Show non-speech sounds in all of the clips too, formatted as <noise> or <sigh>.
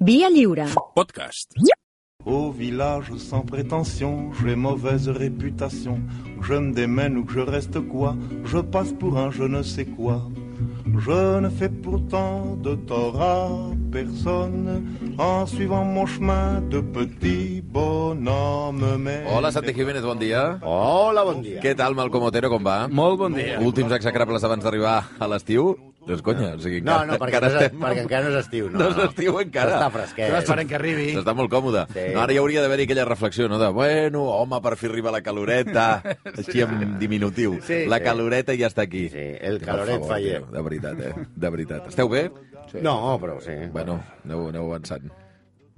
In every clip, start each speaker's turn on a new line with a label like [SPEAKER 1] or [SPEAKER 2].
[SPEAKER 1] Via lliure.
[SPEAKER 2] Podcast.
[SPEAKER 3] Au village sans prétention, j'ai mauvaise réputation. Que je me démène ou que je reste quoi, je passe pour un je ne sais quoi. Je ne fais pourtant de tort à personne en suivant mon chemin de petit bonhomme. Mais
[SPEAKER 4] Hola, Santi Jiménez, bon dia.
[SPEAKER 5] Hola, bon dia.
[SPEAKER 4] Què tal, Malcom Otero, com va?
[SPEAKER 6] Molt bon dia.
[SPEAKER 4] Últims execrables abans d'arribar a l'estiu? Doncs conya, o sigui,
[SPEAKER 5] No, no, perquè, no és, perquè encara no és estiu. No,
[SPEAKER 4] No és estiu encara.
[SPEAKER 5] Està fresquet.
[SPEAKER 6] No esperem que arribi.
[SPEAKER 4] S'està molt còmode.
[SPEAKER 5] Sí.
[SPEAKER 4] No, ara hi hauria d'haver aquella reflexió, no? De, bueno, home, per fi arriba la caloreta.
[SPEAKER 5] <laughs>
[SPEAKER 4] Així en diminutiu.
[SPEAKER 6] Sí.
[SPEAKER 4] la caloreta ja està aquí.
[SPEAKER 5] Sí, el
[SPEAKER 4] Per
[SPEAKER 5] caloret
[SPEAKER 4] favor,
[SPEAKER 5] faller.
[SPEAKER 4] tio, De veritat, eh? De veritat. Esteu bé?
[SPEAKER 5] No, però sí.
[SPEAKER 4] Bueno, aneu, aneu avançant.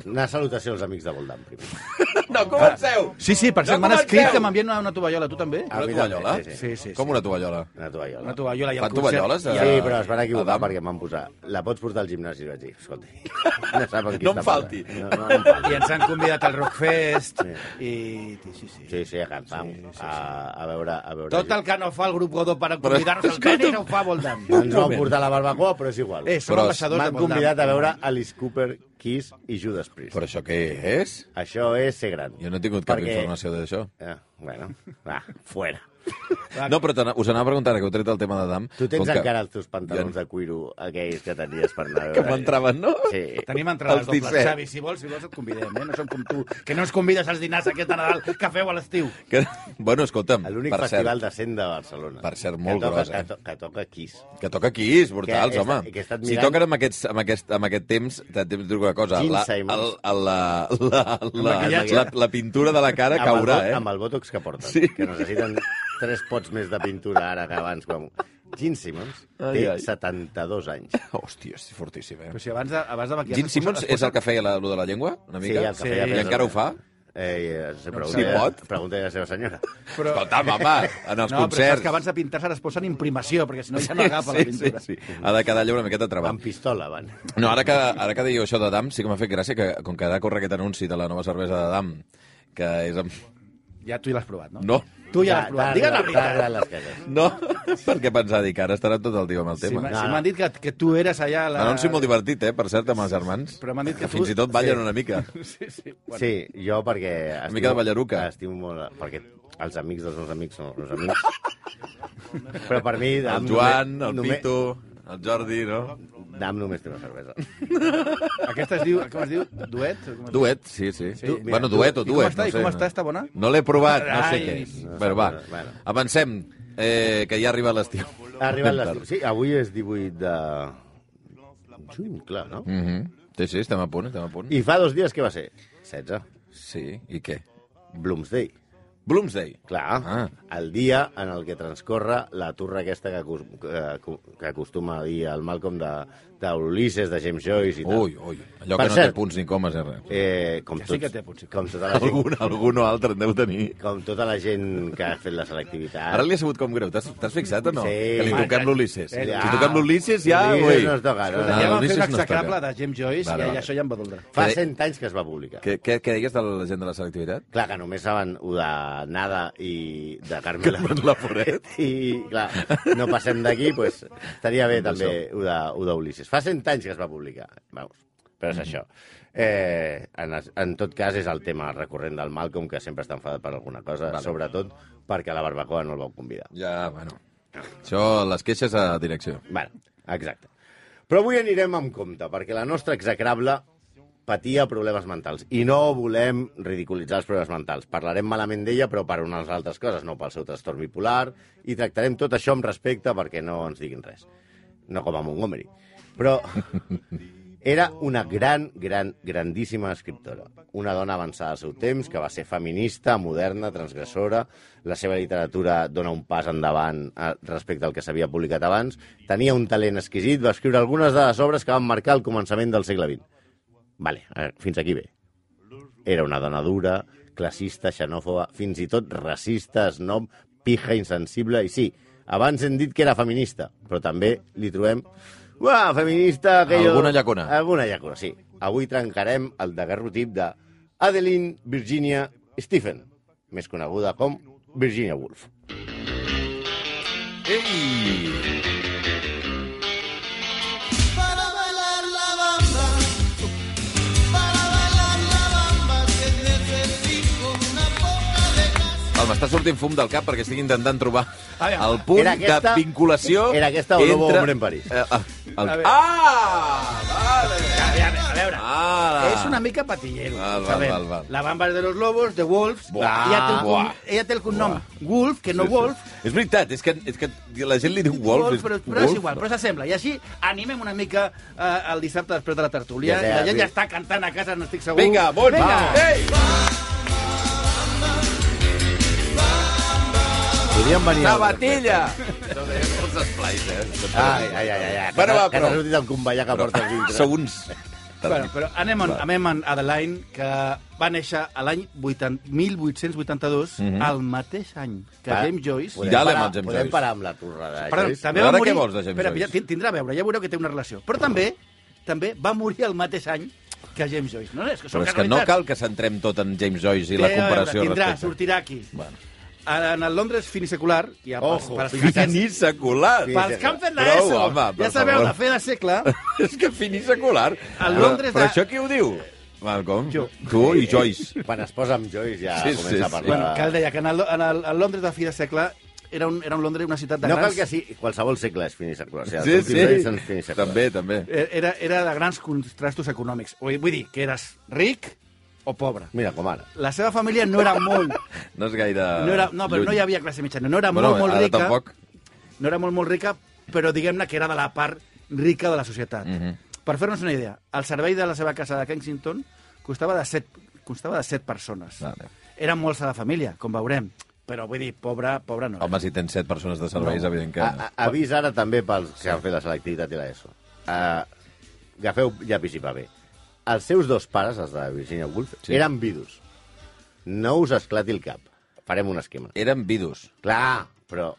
[SPEAKER 5] Una salutació als amics de Voldam, primer.
[SPEAKER 4] No, comenceu!
[SPEAKER 6] Sí, sí, per cert,
[SPEAKER 4] No
[SPEAKER 6] m'han escrit
[SPEAKER 4] comenceu!
[SPEAKER 6] que m'envien una, una tovallola, tu també?
[SPEAKER 4] Una tovallola?
[SPEAKER 5] Sí, sí.
[SPEAKER 6] Sí, sí, sí.
[SPEAKER 4] Com una tovallola?
[SPEAKER 5] Una tovallola.
[SPEAKER 6] Una tovallola i el
[SPEAKER 4] Fan
[SPEAKER 6] concert.
[SPEAKER 4] tovalloles?
[SPEAKER 6] I
[SPEAKER 4] eh?
[SPEAKER 5] Sí, però es van equivocar
[SPEAKER 4] Adam?
[SPEAKER 5] perquè em van posar la pots portar al gimnàs i vaig dir,
[SPEAKER 4] <laughs>
[SPEAKER 5] escolti, no sap amb qui
[SPEAKER 4] No em
[SPEAKER 5] està
[SPEAKER 4] falti.
[SPEAKER 5] parlant. No, no, no em falti.
[SPEAKER 6] I ens han convidat al Rockfest. I... Sí, sí, sí.
[SPEAKER 5] Sí, sí, a cantar,
[SPEAKER 6] Sí, sí, sí.
[SPEAKER 5] a, a veure... A veure
[SPEAKER 6] Tot el que no fa el grup Godó per convidar-nos al Cani no ho fa Voldam.
[SPEAKER 5] Ens vau portar la barbacoa, però és igual.
[SPEAKER 6] Eh, som
[SPEAKER 4] Però
[SPEAKER 6] ambaixadors de
[SPEAKER 5] M'han
[SPEAKER 6] Voldam.
[SPEAKER 5] convidat a veure Alice Cooper, Kiss i Judas Priest.
[SPEAKER 4] Però això què és?
[SPEAKER 5] Això és ser gran.
[SPEAKER 4] Jo no he tingut cap
[SPEAKER 5] Perquè-
[SPEAKER 4] informació d'això.
[SPEAKER 5] Ah, bueno, va, fuera.
[SPEAKER 4] No, però t'ana- us anava preguntant, que heu tret el tema d'Adam.
[SPEAKER 5] Tu tens
[SPEAKER 4] com que-
[SPEAKER 5] encara els teus pantalons de cuiro aquells que tenies per anar a
[SPEAKER 4] <laughs> Que
[SPEAKER 5] veure.
[SPEAKER 4] m'entraven, no?
[SPEAKER 5] Sí.
[SPEAKER 6] Tenim entrades
[SPEAKER 4] Els
[SPEAKER 6] dobles,
[SPEAKER 4] 17.
[SPEAKER 6] Xavi. Si vols, si vols et convidem, eh? No som com tu, que no ens convides als dinars aquest de Nadal que feu a l'estiu.
[SPEAKER 4] Que... Bueno, escolta'm,
[SPEAKER 5] A l'únic
[SPEAKER 4] per
[SPEAKER 5] festival
[SPEAKER 4] cert,
[SPEAKER 5] de senda de Barcelona.
[SPEAKER 4] Per cert, molt
[SPEAKER 5] que toca,
[SPEAKER 4] gros, eh?
[SPEAKER 5] Que, to que toca Kiss.
[SPEAKER 4] que toca Kiss, brutals,
[SPEAKER 5] Que he
[SPEAKER 4] home.
[SPEAKER 5] estat- que he estat
[SPEAKER 4] Si
[SPEAKER 5] mirant-
[SPEAKER 4] toquen amb, aquests, amb, aquest, amb aquest temps, te- te- et dic una cosa.
[SPEAKER 5] Gene
[SPEAKER 4] La, el,
[SPEAKER 5] Simmons.
[SPEAKER 4] el, la, la, la, la,
[SPEAKER 6] maquillatge.
[SPEAKER 4] la, la pintura de la cara caurà,
[SPEAKER 5] el, bo-
[SPEAKER 4] eh?
[SPEAKER 5] Amb el botox que porten.
[SPEAKER 4] Sí.
[SPEAKER 5] Sí. Que necessiten tres pots més de pintura ara que abans. Quan... Gene Simmons
[SPEAKER 4] Ai,
[SPEAKER 5] té
[SPEAKER 4] ai.
[SPEAKER 5] 72 anys.
[SPEAKER 4] Hòstia, és fortíssim, eh?
[SPEAKER 6] Però si abans de, abans de maquillar...
[SPEAKER 4] Gene Simmons és el que feia la, lo de la llengua, una
[SPEAKER 5] Sí,
[SPEAKER 4] mica?
[SPEAKER 5] el que feia
[SPEAKER 4] I
[SPEAKER 5] Pedro.
[SPEAKER 4] encara ho fa?
[SPEAKER 5] Eh, se pregunta,
[SPEAKER 4] Sí, pot.
[SPEAKER 5] pregunta a la seva senyora.
[SPEAKER 6] Però...
[SPEAKER 4] Escolta'm, home, en els
[SPEAKER 6] no, però saps
[SPEAKER 4] concerts...
[SPEAKER 6] que abans de pintar-se les posen imprimació, perquè si no ja no agafa la
[SPEAKER 4] sí,
[SPEAKER 6] pintura.
[SPEAKER 4] sí, sí. Ha de quedar allò una miqueta
[SPEAKER 5] Amb
[SPEAKER 4] trebat.
[SPEAKER 5] pistola, van.
[SPEAKER 4] No, ara que, ara que dèieu això d'Adam, sí que m'ha fet gràcia que, com que ara corre aquest anunci de la nova cervesa d'Adam, que és amb... <laughs>
[SPEAKER 6] Ja tu hi l'has provat, no?
[SPEAKER 4] No,
[SPEAKER 6] Tu ja l'has provat. Digues la veritat.
[SPEAKER 5] T'agraden les cases.
[SPEAKER 4] no, perquè pensava dir que ara estarà tot el dia amb el
[SPEAKER 6] Si
[SPEAKER 4] tema.
[SPEAKER 6] m'ha-
[SPEAKER 4] Sí,
[SPEAKER 5] No,
[SPEAKER 6] si
[SPEAKER 5] no.
[SPEAKER 6] m'han dit que, que tu eres allà... a La...
[SPEAKER 4] Anunci molt divertit, eh, per cert, amb els germans.
[SPEAKER 6] Però m'han dit que tu-
[SPEAKER 4] Fins i tot ballen
[SPEAKER 6] Sí.
[SPEAKER 4] una mica.
[SPEAKER 6] Sí, sí. Bueno,
[SPEAKER 5] Sí, jo perquè... Estimo,
[SPEAKER 4] mica de ballaruca.
[SPEAKER 5] Estimo molt... Perquè els amics dels meus amics són els meus amics. Però per mi...
[SPEAKER 4] El
[SPEAKER 5] Dam
[SPEAKER 4] Joan, el
[SPEAKER 5] només-
[SPEAKER 4] Pitu, el Jordi, no?
[SPEAKER 5] Dam només té una cervesa.
[SPEAKER 6] Aquesta es diu, com es diu? Duet? O com es diu?
[SPEAKER 4] Duet, sí, sí.
[SPEAKER 6] mira,
[SPEAKER 4] bueno, duet o
[SPEAKER 6] I com
[SPEAKER 4] duet,
[SPEAKER 6] està?
[SPEAKER 4] no Ah,
[SPEAKER 6] I
[SPEAKER 4] sé.
[SPEAKER 6] com està? Està bona?
[SPEAKER 4] No l'he provat, no sé
[SPEAKER 6] Ai.
[SPEAKER 4] què és. Bueno, va,
[SPEAKER 5] Bueno.
[SPEAKER 4] avancem, eh, que ja arriba l'estiu.
[SPEAKER 5] Ha arribat l'estiu. Sí, avui és 18 de... Juny, clar, no?
[SPEAKER 4] Mhm. Sí, sí, estem a punt, estem a punt.
[SPEAKER 5] I fa dos dies què va ser? 16.
[SPEAKER 4] Sí, i què?
[SPEAKER 5] Bloomsday.
[SPEAKER 4] Bloomsday.
[SPEAKER 5] Clar,
[SPEAKER 4] Ah.
[SPEAKER 5] el dia en el que transcorre la turra aquesta que, acus- que, acu- que acostuma a dir el Malcolm de, de Ulisses, de James Joyce i tal.
[SPEAKER 4] Ui, ui, allò
[SPEAKER 5] Per
[SPEAKER 4] que no té
[SPEAKER 5] cert.
[SPEAKER 4] punts ni comes, eh, res.
[SPEAKER 5] Eh, com,
[SPEAKER 6] Ja sí que
[SPEAKER 5] tots-
[SPEAKER 6] té, potser.
[SPEAKER 5] com tota la gent
[SPEAKER 4] Algun, algun o altre en deu tenir.
[SPEAKER 5] com tota la gent que ha fet la selectivitat.
[SPEAKER 4] Ara li ha sigut com greu, t'has t'has fixat o no?
[SPEAKER 5] Ah. Sí.
[SPEAKER 4] Que li toquem l'Ulisses.
[SPEAKER 6] Ja.
[SPEAKER 4] Si toquem l'Ulisses ja...
[SPEAKER 5] Ulisses
[SPEAKER 4] ui.
[SPEAKER 5] no es toca, no, no.
[SPEAKER 4] Ah,
[SPEAKER 6] ja vam fer
[SPEAKER 4] l'Ulisses
[SPEAKER 6] un
[SPEAKER 4] no es toca.
[SPEAKER 6] execrable de James Joyce
[SPEAKER 4] Vale,
[SPEAKER 6] i,
[SPEAKER 4] vale.
[SPEAKER 6] i això ja em va doldre.
[SPEAKER 5] Fa
[SPEAKER 4] que-
[SPEAKER 5] 100 anys que es va publicar.
[SPEAKER 4] Què, què, què deies de la gent de la selectivitat?
[SPEAKER 5] Clar, que només saben ho de Nada i de Carmela.
[SPEAKER 4] Carmela Foret.
[SPEAKER 5] I, clar, no passem d'aquí, doncs estaria bé també ho de- ho d'Ulisses. Fa 100 anys que es va publicar, vamos, però
[SPEAKER 4] Mm-hmm.
[SPEAKER 5] és això. Eh, en, es- en tot cas, és el tema recurrent del Malcolm, que sempre està enfadat per alguna cosa,
[SPEAKER 4] Vale.
[SPEAKER 5] sobretot perquè a la barbacoa no el vau convidar.
[SPEAKER 4] Ja, bueno. Això, les queixes a direcció.
[SPEAKER 5] Bueno, exacte. Però avui anirem amb compte, perquè la nostra execrable patia problemes mentals. I no volem ridiculitzar els problemes mentals. Parlarem malament d'ella, però per unes altres coses, no pel seu trastorn bipolar, i tractarem tot això amb respecte perquè no ens diguin res. No com a Montgomery. Però era una gran, gran, grandíssima escriptora. Una dona avançada al seu temps, que va ser feminista, moderna, transgressora. La seva literatura dona un pas endavant eh, respecte al que s'havia publicat abans. Tenia un talent exquisit, va escriure algunes de les obres que van marcar el començament del segle XX. Vale, eh, fins aquí bé. Era una dona dura, classista, xenòfoba, fins i tot racista, snob, pija, insensible, i sí, abans hem dit que era feminista, però també li trobem... Uah, feminista... Aquello...
[SPEAKER 4] Alguna llacuna.
[SPEAKER 5] Alguna llacuna, sí. Avui trencarem el daguerrotip de Adeline Virginia Stephen, més coneguda com Virginia Woolf.
[SPEAKER 4] Ei!
[SPEAKER 7] para bailar la banda
[SPEAKER 4] m'està sortint fum del cap perquè estic intentant trobar
[SPEAKER 6] Aviam.
[SPEAKER 4] el punt
[SPEAKER 5] Era aquesta-
[SPEAKER 4] de vinculació...
[SPEAKER 5] era aquesta o Lobo Hombre en París.
[SPEAKER 4] Eh, eh, el...
[SPEAKER 6] A veure.
[SPEAKER 4] Ah! Vale!
[SPEAKER 6] A veure, a veure.
[SPEAKER 4] Ah!
[SPEAKER 6] És una mica patillero.
[SPEAKER 4] Val, val,
[SPEAKER 6] sabem.
[SPEAKER 4] val, val.
[SPEAKER 6] La bamba de los lobos, de Wolves.
[SPEAKER 5] Buah,
[SPEAKER 6] ella, té el,
[SPEAKER 4] buah.
[SPEAKER 6] con- ella té el cognom Wolf, que no
[SPEAKER 4] Sí, sí.
[SPEAKER 6] Wolf.
[SPEAKER 4] És veritat, és que, és que la gent li diu Wolf.
[SPEAKER 6] Wolf,
[SPEAKER 4] és-
[SPEAKER 6] però, però és
[SPEAKER 4] Wolf?
[SPEAKER 6] igual, però s'assembla. I així animem una mica eh, el dissabte després de la tertúlia.
[SPEAKER 5] Ja,
[SPEAKER 6] Ja,
[SPEAKER 5] ja,
[SPEAKER 6] la gent
[SPEAKER 5] sí.
[SPEAKER 6] ja està cantant a casa, no estic segur.
[SPEAKER 4] Vinga, bon!
[SPEAKER 6] Vinga. eh,
[SPEAKER 4] Ei!
[SPEAKER 5] Podríem venir... a-
[SPEAKER 4] Sabatilla! No, deia molts esplais, eh?
[SPEAKER 5] Ai, ai, ai, ai.
[SPEAKER 4] Bueno, va,
[SPEAKER 5] Que
[SPEAKER 4] però-
[SPEAKER 5] t'ha sortit el convallà que portes dintre.
[SPEAKER 4] Segons...
[SPEAKER 6] Bueno, però anem, on, anem en Adeline, que va néixer a l'any 80 1882, mm -va. el mateix any que
[SPEAKER 5] Va,
[SPEAKER 6] James Joyce.
[SPEAKER 5] podem
[SPEAKER 4] Mhm. Ja l'hem
[SPEAKER 5] parar-
[SPEAKER 4] al James
[SPEAKER 5] Podem
[SPEAKER 4] Joyce.
[SPEAKER 5] parar amb la torrada. eh,
[SPEAKER 6] Perdó,
[SPEAKER 5] Lluís?
[SPEAKER 6] també
[SPEAKER 4] Ara
[SPEAKER 6] va
[SPEAKER 4] què
[SPEAKER 6] morir...
[SPEAKER 4] vols de James
[SPEAKER 6] Espera,
[SPEAKER 4] Joyce?
[SPEAKER 6] ja tin- tindrà a veure, ja veureu que té una relació. Però també també va morir el mateix any que James Joyce. No, no, és que són
[SPEAKER 4] Però és que no
[SPEAKER 6] casualitats.
[SPEAKER 4] cal que centrem tot en James Joyce i
[SPEAKER 6] Té
[SPEAKER 4] la
[SPEAKER 6] a veure,
[SPEAKER 4] comparació al
[SPEAKER 6] tindrà,
[SPEAKER 4] respecte.
[SPEAKER 6] sortirà aquí.
[SPEAKER 4] Bueno.
[SPEAKER 6] Ara, En el Londres finisecular, ja pels,
[SPEAKER 5] Ojo,
[SPEAKER 6] pels, pels,
[SPEAKER 4] Fini secular!
[SPEAKER 6] pels que han fet
[SPEAKER 4] Prou,
[SPEAKER 6] l'ESO,
[SPEAKER 4] home, per
[SPEAKER 6] ja sabeu,
[SPEAKER 4] favor.
[SPEAKER 6] la fe de
[SPEAKER 4] <laughs>
[SPEAKER 6] segle,
[SPEAKER 4] és que fini secular!
[SPEAKER 6] A Londres
[SPEAKER 4] Però, però
[SPEAKER 6] de-
[SPEAKER 4] això qui ho diu? Malcolm?
[SPEAKER 6] Jo.
[SPEAKER 4] Tu i Joyce.
[SPEAKER 5] Quan es posa amb Joyce ja
[SPEAKER 4] Sí, sí,
[SPEAKER 5] comença a
[SPEAKER 4] sí.
[SPEAKER 5] parlar.
[SPEAKER 6] bueno, que el deia que en el, en el, el Londres de fi de segle era un, era un Londres, una ciutat de
[SPEAKER 5] No
[SPEAKER 6] grans...
[SPEAKER 5] cal que sí, qualsevol segle és finisecular. O sigui,
[SPEAKER 4] Sí,
[SPEAKER 5] els últims anys són
[SPEAKER 4] sí.
[SPEAKER 5] finiseculars.
[SPEAKER 4] També, també.
[SPEAKER 6] Eh, Era, era de grans contrastos econòmics. Vull vull dir, que eres ric o pobre.
[SPEAKER 5] Mira, com ara.
[SPEAKER 6] La seva família no era molt...
[SPEAKER 4] No és gaire...
[SPEAKER 6] No, era, no però
[SPEAKER 4] Ah, lluny.
[SPEAKER 6] no hi havia classe mitjana. No era
[SPEAKER 4] Bueno,
[SPEAKER 6] molt, molt
[SPEAKER 4] ara
[SPEAKER 6] rica.
[SPEAKER 4] tampoc.
[SPEAKER 6] No era molt, molt rica, però diguem-ne que era de la part rica de la societat.
[SPEAKER 4] Mhm.
[SPEAKER 6] Per fer-nos una idea, el servei de la seva casa de Kensington costava de set, costava de set persones.
[SPEAKER 4] Vale.
[SPEAKER 6] Era molt de la família, com veurem. Però vull dir, pobre, pobre no. era.
[SPEAKER 4] Home, si tens set persones de serveis, no. Ah, evident que...
[SPEAKER 5] A, a, avís ara també pels que han fet la selectivitat i l'ESO. Uh, agafeu llapis i paper. Els seus dos pares, els de Virginia Woolf,
[SPEAKER 4] Sí.
[SPEAKER 5] sí. eren vidus. No us esclati el cap. Farem un esquema.
[SPEAKER 4] Eren vidus.
[SPEAKER 5] Clar, però...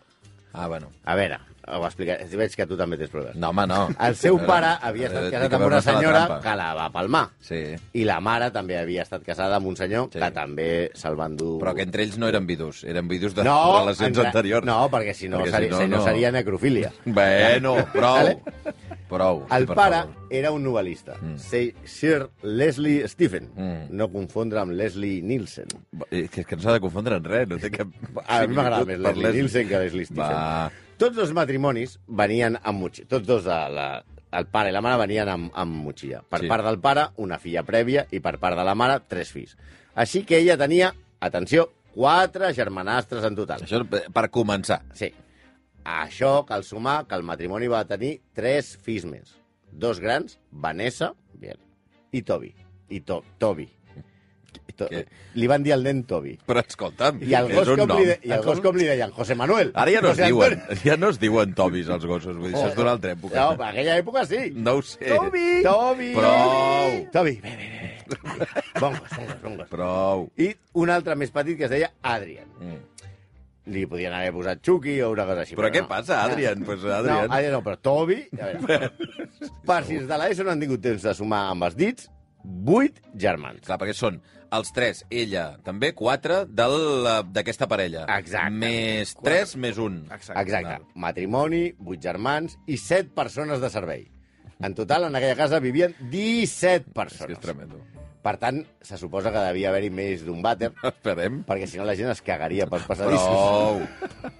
[SPEAKER 4] Ah, bueno.
[SPEAKER 5] A veure, ho explicaré. Veig que tu també tens problemes.
[SPEAKER 4] No, home, no.
[SPEAKER 5] El seu
[SPEAKER 4] No,
[SPEAKER 5] pare
[SPEAKER 4] no,
[SPEAKER 5] havia
[SPEAKER 4] no,
[SPEAKER 5] estat
[SPEAKER 4] no,
[SPEAKER 5] casat
[SPEAKER 4] té
[SPEAKER 5] amb una
[SPEAKER 4] veure-se la
[SPEAKER 5] senyora
[SPEAKER 4] trampa.
[SPEAKER 5] que la va palmar.
[SPEAKER 4] Sí.
[SPEAKER 5] I la mare també havia estat casada amb un senyor
[SPEAKER 4] Sí.
[SPEAKER 5] que també se'l van dur...
[SPEAKER 4] Però que entre ells no eren vidus, eren vidus de
[SPEAKER 5] no,
[SPEAKER 4] relacions
[SPEAKER 5] entre-
[SPEAKER 4] anteriors.
[SPEAKER 5] No, perquè si no,
[SPEAKER 4] Perquè si
[SPEAKER 5] seria,
[SPEAKER 4] no,
[SPEAKER 5] si no,
[SPEAKER 4] no.
[SPEAKER 5] seria
[SPEAKER 4] <laughs>
[SPEAKER 5] necrofília.
[SPEAKER 4] Bueno, prou.
[SPEAKER 5] Vale.
[SPEAKER 4] Prou.
[SPEAKER 5] El
[SPEAKER 4] per
[SPEAKER 5] pare
[SPEAKER 4] favor.
[SPEAKER 5] era un novel·lista, mm. Sir Leslie Stephen,
[SPEAKER 4] Mm.
[SPEAKER 5] no confondre amb Leslie Nielsen.
[SPEAKER 4] És eh, que, és que no s'ha de confondre en res, no té cap...
[SPEAKER 5] A mi m'agrada
[SPEAKER 4] similitud
[SPEAKER 5] més
[SPEAKER 4] per
[SPEAKER 5] Leslie Nielsen que Leslie Stephen.
[SPEAKER 4] Va.
[SPEAKER 5] Tots dos matrimonis venien amb motxilla. Tots dos, de la, el pare i la mare, venien amb, amb motxilla. Per
[SPEAKER 4] Sí.
[SPEAKER 5] sí. part del pare, una filla prèvia, i per part de la mare, tres fills. Així que ella tenia, atenció, quatre germanastres en total.
[SPEAKER 4] Això per per començar.
[SPEAKER 5] Sí. A això cal sumar que el matrimoni va tenir tres fills més. Dos grans, Vanessa bien, i Toby. I to Toby. I to
[SPEAKER 4] Què?
[SPEAKER 5] li van dir al nen Toby.
[SPEAKER 4] Però escolta'm, <laughs>
[SPEAKER 5] I al
[SPEAKER 4] és
[SPEAKER 5] gos,
[SPEAKER 4] un
[SPEAKER 5] com
[SPEAKER 4] nom.
[SPEAKER 5] li, de i al gos com li deien José Manuel.
[SPEAKER 4] Ara ja no es
[SPEAKER 5] José
[SPEAKER 4] diuen,
[SPEAKER 5] Antonio.
[SPEAKER 4] ja no es diuen Tobis els gossos, vull dir, això és d'una altra època.
[SPEAKER 5] No, per aquella època sí.
[SPEAKER 4] No ho sé.
[SPEAKER 5] Toby! Toby!
[SPEAKER 4] Prou!
[SPEAKER 5] Toby, bé, bé,
[SPEAKER 4] <laughs>
[SPEAKER 5] bé. Bon gos, bon gos, bon gos.
[SPEAKER 4] Prou.
[SPEAKER 5] eh, I un altre més petit que es deia Adrian.
[SPEAKER 4] Mm.
[SPEAKER 5] Li podien haver posat Chucky o una cosa així.
[SPEAKER 4] Però què
[SPEAKER 5] no.
[SPEAKER 4] passa, Adrian? Pues Adrian.
[SPEAKER 5] No, Adrian no, però Toby... A veure, passis de l'ESO no han tingut temps de sumar amb els dits vuit germans.
[SPEAKER 4] Clar, perquè són els tres, ella, també quatre del- eh, d'aquesta parella.
[SPEAKER 5] Exacte.
[SPEAKER 4] Més tres, més un.
[SPEAKER 6] Exacte.
[SPEAKER 5] Exacte. Matrimoni, vuit germans i set persones de servei. En total, en aquella casa vivien 17
[SPEAKER 4] És que és
[SPEAKER 5] persones.
[SPEAKER 4] tremendo. <laughs>
[SPEAKER 5] Per tant, se suposa que devia haver-hi més d'un vàter,
[SPEAKER 4] Esperem.
[SPEAKER 5] perquè si no la gent es cagaria pels passadissos.
[SPEAKER 4] Prou.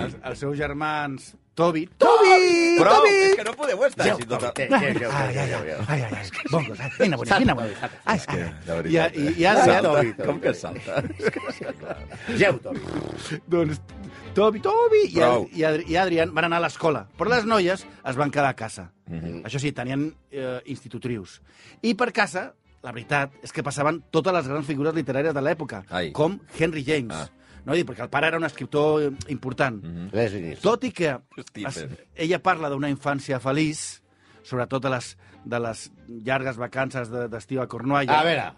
[SPEAKER 6] Els, els seus germans, Toby...
[SPEAKER 5] Toby!
[SPEAKER 4] Prou, és que no podeu estar
[SPEAKER 5] Ja,
[SPEAKER 4] així tota...
[SPEAKER 5] ja, ja, ja,
[SPEAKER 6] Ai, ai,
[SPEAKER 5] Ah, ja,
[SPEAKER 6] ai,
[SPEAKER 5] ja.
[SPEAKER 6] ai, ai, ai, bon gos, ai, quina bonica, quina bonica. Ai,
[SPEAKER 4] És que, de
[SPEAKER 6] I,
[SPEAKER 4] veritat.
[SPEAKER 6] i, i
[SPEAKER 4] eh?
[SPEAKER 6] ara,
[SPEAKER 4] salta,
[SPEAKER 5] Salta. Toby, Toby,
[SPEAKER 4] com que
[SPEAKER 5] Toby.
[SPEAKER 4] salta?
[SPEAKER 6] <laughs>
[SPEAKER 4] És que sí, clar.
[SPEAKER 5] Geu, Toby.
[SPEAKER 6] doncs, Toby, Toby i,
[SPEAKER 4] Prou.
[SPEAKER 6] i, Adri- i Adrian van anar a l'escola, però les noies es van quedar a casa.
[SPEAKER 4] Mhm,
[SPEAKER 6] Això sí, tenien eh, institutrius. I per casa, la veritat, és que passaven totes les grans figures literàries de l'època,
[SPEAKER 4] Ai.
[SPEAKER 6] com Henry James.
[SPEAKER 4] Ah. Mm.
[SPEAKER 6] No? I perquè el pare era un escriptor eh, important.
[SPEAKER 5] Leslie Nielsen.
[SPEAKER 6] Tot i que es,
[SPEAKER 4] mhm. Stephen.
[SPEAKER 6] ella parla d'una infància feliç, sobretot de les, de les llargues vacances de- d'estiu a Cornualla.
[SPEAKER 5] A veure,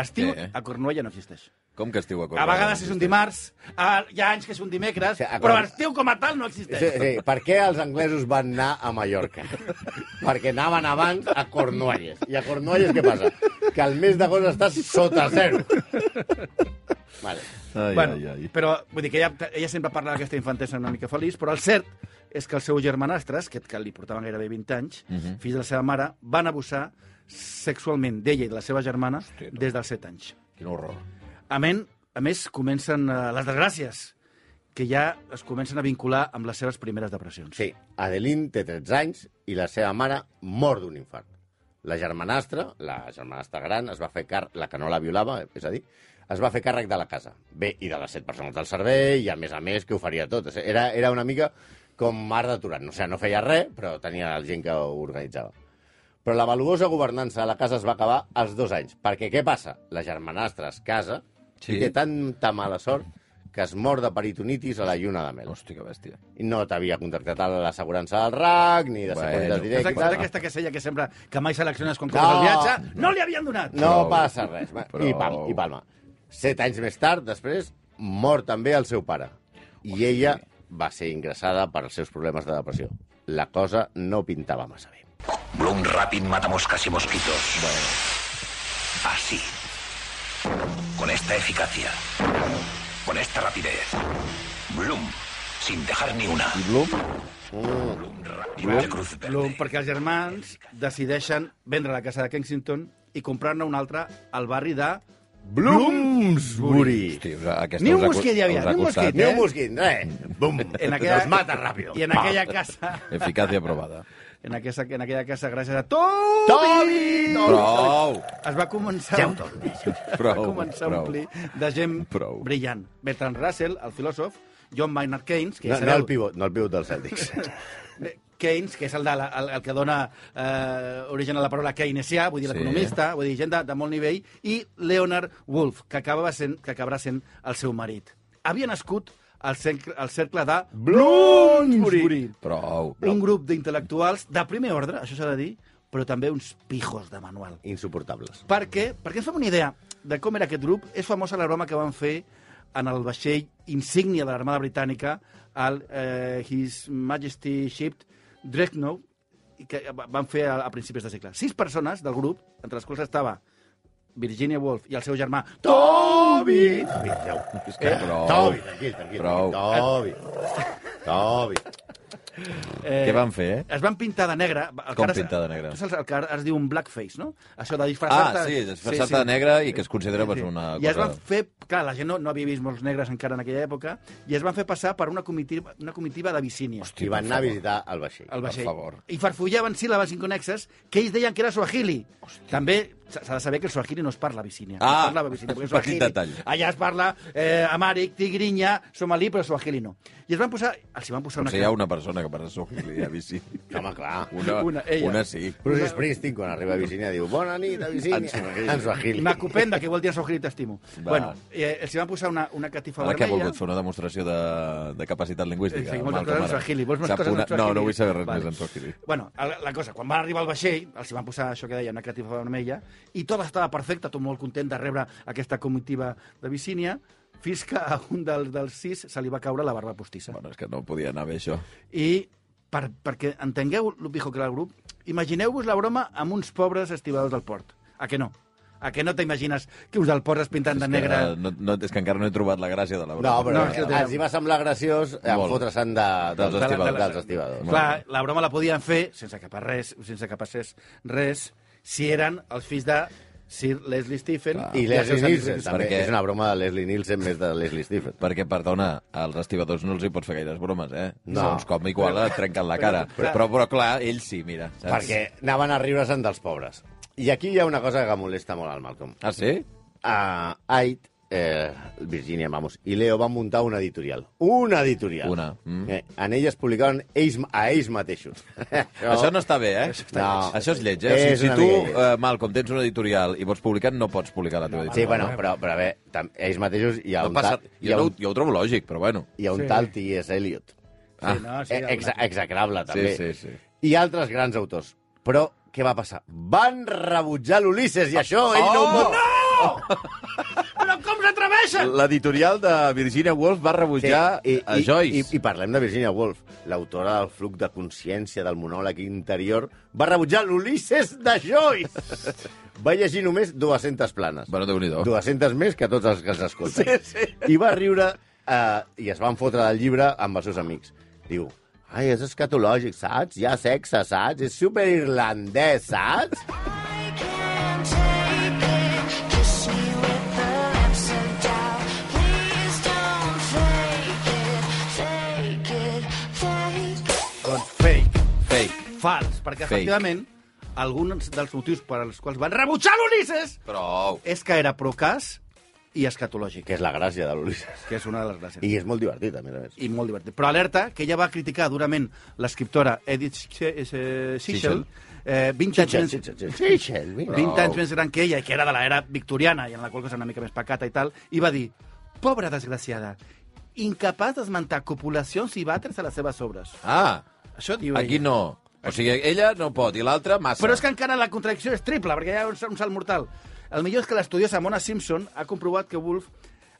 [SPEAKER 6] Estiu
[SPEAKER 4] Què?
[SPEAKER 6] a Cornualla no existeix.
[SPEAKER 4] Com que estiu a
[SPEAKER 6] A
[SPEAKER 4] Cornellà?
[SPEAKER 6] vegades és un dimarts, a, hi ha anys que és un dimecres,
[SPEAKER 5] Sí, a
[SPEAKER 6] però
[SPEAKER 5] Corn-
[SPEAKER 6] l'estiu com a tal no
[SPEAKER 5] Sí,
[SPEAKER 6] existeix.
[SPEAKER 5] sí. Per què els anglesos van anar a Mallorca? Perquè anaven abans a Cornualles. I a Cornualles què passa? Que el mes d'agost estàs sota zero. Vale.
[SPEAKER 4] Ai,
[SPEAKER 6] bueno,
[SPEAKER 4] ai, ai.
[SPEAKER 6] Però vull dir que ella, ella sempre parla d'aquesta infantesa una mica feliç, però el cert és que els seus germanastres, que, que li portaven gairebé 20 anys, uh -huh. fills de la seva mare, van abusar sexualment d'ella i de la seva germana
[SPEAKER 4] Hòstia, tu.
[SPEAKER 6] des dels 7 anys.
[SPEAKER 4] Quin horror.
[SPEAKER 6] Amén, A més, comencen eh, les desgràcies, que ja es comencen a vincular amb les seves primeres depressions.
[SPEAKER 5] Doncs Sí, Adeline té 13 anys i la seva mare mor d'un infart. La germanastra, la germanastra gran, es va fer càrrec, la que no la violava, és a dir, es va fer càrrec de la casa. Bé, i de les set persones del servei, i a més a més que ho faria tot. Era, era una mica com mar de Turan. O sigui, no feia res, però tenia la gent que ho organitzava. Però la valuosa governança de la casa es va acabar als dos anys. Perquè què passa? La germanastra es casa
[SPEAKER 4] Sí.
[SPEAKER 5] sí. i té tanta mala sort que es mor de peritonitis a la lluna de mel.
[SPEAKER 4] Hòstia, que bèstia.
[SPEAKER 5] I no t'havia contractat a l'assegurança del RAC, ni de
[SPEAKER 4] Bueno.
[SPEAKER 5] seguretat
[SPEAKER 6] Saps
[SPEAKER 5] directa...
[SPEAKER 6] aquesta, aquesta casella que sembla que mai selecciones quan
[SPEAKER 5] No.
[SPEAKER 6] compres el viatge? No li havien donat!
[SPEAKER 5] No
[SPEAKER 4] Prou.
[SPEAKER 5] passa res. va, I,
[SPEAKER 4] Prou.
[SPEAKER 5] pam, I palma. Set anys més tard, després, mor també el seu pare. I ella va ser ingressada per els seus problemes de depressió. La cosa no pintava massa
[SPEAKER 6] Eh?
[SPEAKER 5] bé.
[SPEAKER 1] Bloom Rapid mata moscas y mosquitos. Así. Con esta eficacia. Con esta rapidez. Bloom. Sin dejar ni una.
[SPEAKER 4] Blum?
[SPEAKER 1] Bloom Rapid de Cruz Verde.
[SPEAKER 6] Lo- perquè els germans decideixen vendre la casa de Kensington i comprar-ne una altra al barri de...
[SPEAKER 5] Bloomsbury.
[SPEAKER 4] Hòstia, us, aquesta
[SPEAKER 6] Ni un
[SPEAKER 4] us ha cos-
[SPEAKER 6] mosquit hi havia,
[SPEAKER 4] us ha
[SPEAKER 6] ni un
[SPEAKER 4] costat. eh?
[SPEAKER 6] mosquit,
[SPEAKER 5] Ni un mosquit, res. Bum.
[SPEAKER 6] En aquella-
[SPEAKER 5] Los mata ràpid.
[SPEAKER 6] I en aquella casa... <laughs>
[SPEAKER 4] Eficàcia aprovada.
[SPEAKER 6] En aquesta, en aquella casa, gràcies a Toby!
[SPEAKER 5] Toby!
[SPEAKER 4] Prou!
[SPEAKER 6] Es va començar...
[SPEAKER 5] Ja ho torno.
[SPEAKER 6] va
[SPEAKER 4] Prou,
[SPEAKER 6] començar a
[SPEAKER 4] prou.
[SPEAKER 6] omplir de gent
[SPEAKER 4] Prou.
[SPEAKER 6] brillant. Bertrand Russell, el filòsof, John Maynard Keynes, que
[SPEAKER 5] No,
[SPEAKER 6] és
[SPEAKER 5] no el pivot, no el pivot dels
[SPEAKER 6] <laughs>
[SPEAKER 5] Celtics.
[SPEAKER 6] Eh, Keynes, que és el, de la, el, el que dona eh, origen a la paraula keynesià, vull dir
[SPEAKER 4] Sí.
[SPEAKER 6] l'economista, vull dir gent de, de molt nivell, i Leonard Wolf, que, acabava sent, que acabarà sent el seu marit. Havia nascut al cercle, al cercle de Bloomsbury,
[SPEAKER 4] Prou.
[SPEAKER 6] un grup d'intel·lectuals de primer ordre, això s'ha de dir, però també uns pijos de manual.
[SPEAKER 5] Insuportables.
[SPEAKER 6] Perquè, perquè ens fem una idea de com era aquest grup, és famosa la broma que van fer en el vaixell insígnia de l'Armada Britànica, el eh, His Majesty Ship Dreadnought, i que va- van fer a, a principis de segle. Sis persones del grup, entre les quals estava Virginia Woolf i el seu germà Toby,
[SPEAKER 5] Toby, Déu.
[SPEAKER 6] Eh?
[SPEAKER 4] És que prou.
[SPEAKER 5] Toby, tranquil, tranquil.
[SPEAKER 4] Prou.
[SPEAKER 5] Toby. Toby.
[SPEAKER 6] eh,
[SPEAKER 4] Què van fer, eh?
[SPEAKER 6] es van pintar de negre. El
[SPEAKER 4] Com
[SPEAKER 6] que ara es-
[SPEAKER 4] pintar de negre?
[SPEAKER 6] Tu saps el que ara es diu un blackface, no? Això de disfressar-te...
[SPEAKER 4] Ah, sí, disfressar-te de negre i que es considera pues, una
[SPEAKER 6] I es
[SPEAKER 4] cosa...
[SPEAKER 6] van fer... Clar, la gent no, no havia vist molts negres encara en aquella època, i es van fer passar per una comitiva, una comitiva de Vicínia.
[SPEAKER 4] Hosti,
[SPEAKER 5] I
[SPEAKER 4] per
[SPEAKER 5] van anar a
[SPEAKER 4] favor.
[SPEAKER 5] visitar el vaixell.
[SPEAKER 6] al vaixell.
[SPEAKER 4] favor.
[SPEAKER 6] I farfullaven síl·labes inconexes que ells deien que era suahili. Hòstia. També s'ha s'ha de saber que el suahili no es parla a Vicínia.
[SPEAKER 4] Ah,
[SPEAKER 6] no es parla a
[SPEAKER 4] <laughs>
[SPEAKER 6] Vicínia, perquè el
[SPEAKER 4] petit
[SPEAKER 6] suahili-
[SPEAKER 4] detall.
[SPEAKER 6] Allà es parla eh, amàric, tigrinya, somalí, però suahili no. I es van posar... Els hi van posar una...
[SPEAKER 4] Potser hi ha una persona que parla suahili a
[SPEAKER 6] <laughs>
[SPEAKER 4] bici.
[SPEAKER 5] Home, clar.
[SPEAKER 4] Una,
[SPEAKER 6] Una, ella.
[SPEAKER 4] una sí.
[SPEAKER 5] Bruce Springsteen, quan arriba a Virginia, diu Bona nit, a
[SPEAKER 4] En
[SPEAKER 5] Virginia.
[SPEAKER 4] Swahili.
[SPEAKER 5] En Swahili.
[SPEAKER 6] Macupenda, que vol dir suahili t'estimo.
[SPEAKER 4] Va.
[SPEAKER 6] Bueno, eh, els hi van posar una, una catifa
[SPEAKER 4] Ara que ha
[SPEAKER 6] vermella.
[SPEAKER 4] volgut fer una demostració de, de capacitat lingüística.
[SPEAKER 6] Sí, moltes
[SPEAKER 4] Malcolm,
[SPEAKER 6] coses en
[SPEAKER 4] ara.
[SPEAKER 6] suahili. Vols més
[SPEAKER 4] Sap
[SPEAKER 6] coses en
[SPEAKER 4] una- No,
[SPEAKER 6] suahili?
[SPEAKER 4] no vull saber res
[SPEAKER 6] Vale.
[SPEAKER 4] més en suahili.
[SPEAKER 6] Bueno, el- la cosa, quan van arribar al vaixell, els hi van posar això que deia, una catifa vermella, i tot estava perfecte, tot molt content de rebre aquesta comitiva de Vicínia, fins que a un dels, dels sis se li va caure la barba postissa. Bueno.
[SPEAKER 4] Bueno, és que no podia anar bé, això.
[SPEAKER 6] I per, perquè entengueu el pijo que era el grup, imagineu-vos la broma amb uns pobres estibadors del port. A que no? A que no t'imagines que us del port es pintant de
[SPEAKER 4] és
[SPEAKER 6] negre?
[SPEAKER 4] Que, no, no, és que encara no he trobat la gràcia de la
[SPEAKER 5] No, però
[SPEAKER 6] No,
[SPEAKER 5] no,
[SPEAKER 6] és que ho
[SPEAKER 5] no,
[SPEAKER 6] tenen.
[SPEAKER 5] els hi va semblar graciós eh,
[SPEAKER 4] Molt.
[SPEAKER 5] fotre-se'n de,
[SPEAKER 4] Dels de
[SPEAKER 5] dels,
[SPEAKER 4] la- de
[SPEAKER 5] estibadors.
[SPEAKER 4] la-
[SPEAKER 5] dels estibadors.
[SPEAKER 6] Clar, la broma la podien fer sense que, per res, sense que passés res si eren els fills de Sir Leslie Stephen
[SPEAKER 5] I
[SPEAKER 6] els seus
[SPEAKER 5] Leslie
[SPEAKER 6] amics
[SPEAKER 5] Nielsen, també.
[SPEAKER 4] Perquè-
[SPEAKER 5] És una broma de Leslie Nielsen més de Leslie Stephen.
[SPEAKER 4] Perquè, perdona, als estibadors no els hi pots fer gaires bromes, eh?
[SPEAKER 5] No.
[SPEAKER 4] Segons com, igual et trenquen la cara.
[SPEAKER 6] Però-
[SPEAKER 4] Però, però, clar, ells sí, mira. Saps?
[SPEAKER 5] Perquè anaven a riure-se'n dels pobres. I aquí hi ha una cosa que molesta molt al Malcolm.
[SPEAKER 4] Ah, sí?
[SPEAKER 5] A Ait, eh, Virginia Mamos i Leo van muntar una editorial. Una editorial.
[SPEAKER 4] Una, mm.
[SPEAKER 5] Eh, en ella es publicaven ells, a ells mateixos.
[SPEAKER 4] No. <laughs> Això no està bé, eh? Això,
[SPEAKER 5] està No. bé.
[SPEAKER 4] Això és lleig, eh? O sigui,
[SPEAKER 5] És
[SPEAKER 4] si
[SPEAKER 5] una
[SPEAKER 4] tu,
[SPEAKER 5] mica lleig.
[SPEAKER 4] eh, Malcom, tens un editorial i vols publicar, no pots publicar la teva
[SPEAKER 5] Sí,
[SPEAKER 4] editorial.
[SPEAKER 5] bueno, però, però a veure, tam- ells mateixos hi ha
[SPEAKER 4] No
[SPEAKER 5] un,
[SPEAKER 4] passa...
[SPEAKER 5] tal, hi
[SPEAKER 4] jo,
[SPEAKER 5] ha
[SPEAKER 4] no,
[SPEAKER 5] un,
[SPEAKER 4] ho- jo ho trobo lògic, però bueno.
[SPEAKER 5] hi ha un
[SPEAKER 6] Sí.
[SPEAKER 5] tal T.S. Eliot.
[SPEAKER 4] Ah,
[SPEAKER 6] sí, no, sí,
[SPEAKER 5] Eh, exa- execrable, també.
[SPEAKER 4] sí, sí.
[SPEAKER 5] I altres grans autors. Però què va passar? Van rebutjar l'Ulisses i això ell
[SPEAKER 4] Oh!
[SPEAKER 5] no ho pot...
[SPEAKER 6] Però Ah, com s'atreveixen?
[SPEAKER 4] L'editorial de Virginia Woolf va rebutjar a
[SPEAKER 5] i,
[SPEAKER 4] Joyce.
[SPEAKER 5] eh, i parlem de Virginia Woolf, l'autora del flux de consciència del monòleg interior, va rebutjar l'Ulisses de <laughs> Joyce. Va llegir només 200 planes.
[SPEAKER 4] Bueno, déu-n'hi-do.
[SPEAKER 5] 200 més que tots els que els escolten. Sí, sí. I va riure eh, i es van fotre del llibre amb els seus amics. Diu, ai, és escatològic, saps? Hi ha sexe, saps? És superirlandès, saps?
[SPEAKER 2] I can't take it. Kiss me with the lips of doubt.
[SPEAKER 6] Doncs Fals, perquè
[SPEAKER 4] Fake.
[SPEAKER 6] efectivament alguns dels motius per als quals van rebutjar l'Ulisses
[SPEAKER 4] Prou.
[SPEAKER 6] és que era procàs i escatològic,
[SPEAKER 5] Que és la gràcia de l'Ulisses.
[SPEAKER 6] que és una de les gràcies.
[SPEAKER 5] I és molt divertit, a més a més.
[SPEAKER 6] i molt divertit. Però alerta, que ella va criticar durament l'escriptora Edith Sichel,
[SPEAKER 4] Sichel.
[SPEAKER 6] eh, 20 anys
[SPEAKER 5] Sí,
[SPEAKER 6] més...
[SPEAKER 5] sí, sí, sí. Sí, Shelby.
[SPEAKER 6] 20 anys més gran que ella, i que era de l'era victoriana, i en la qual cosa era una mica més pacata i tal, i va dir, pobra desgraciada, incapaç d'esmentar copulacions i batres a les seves obres.
[SPEAKER 4] Ah,
[SPEAKER 6] Això diu
[SPEAKER 4] aquí
[SPEAKER 6] ella.
[SPEAKER 4] no. O sigui, ella no pot i l'altra massa.
[SPEAKER 6] Però és que encara la contradicció és triple, perquè hi ha un, sal- un salt mortal. El millor és que l'estudiosa Mona Simpson ha comprovat que Wolf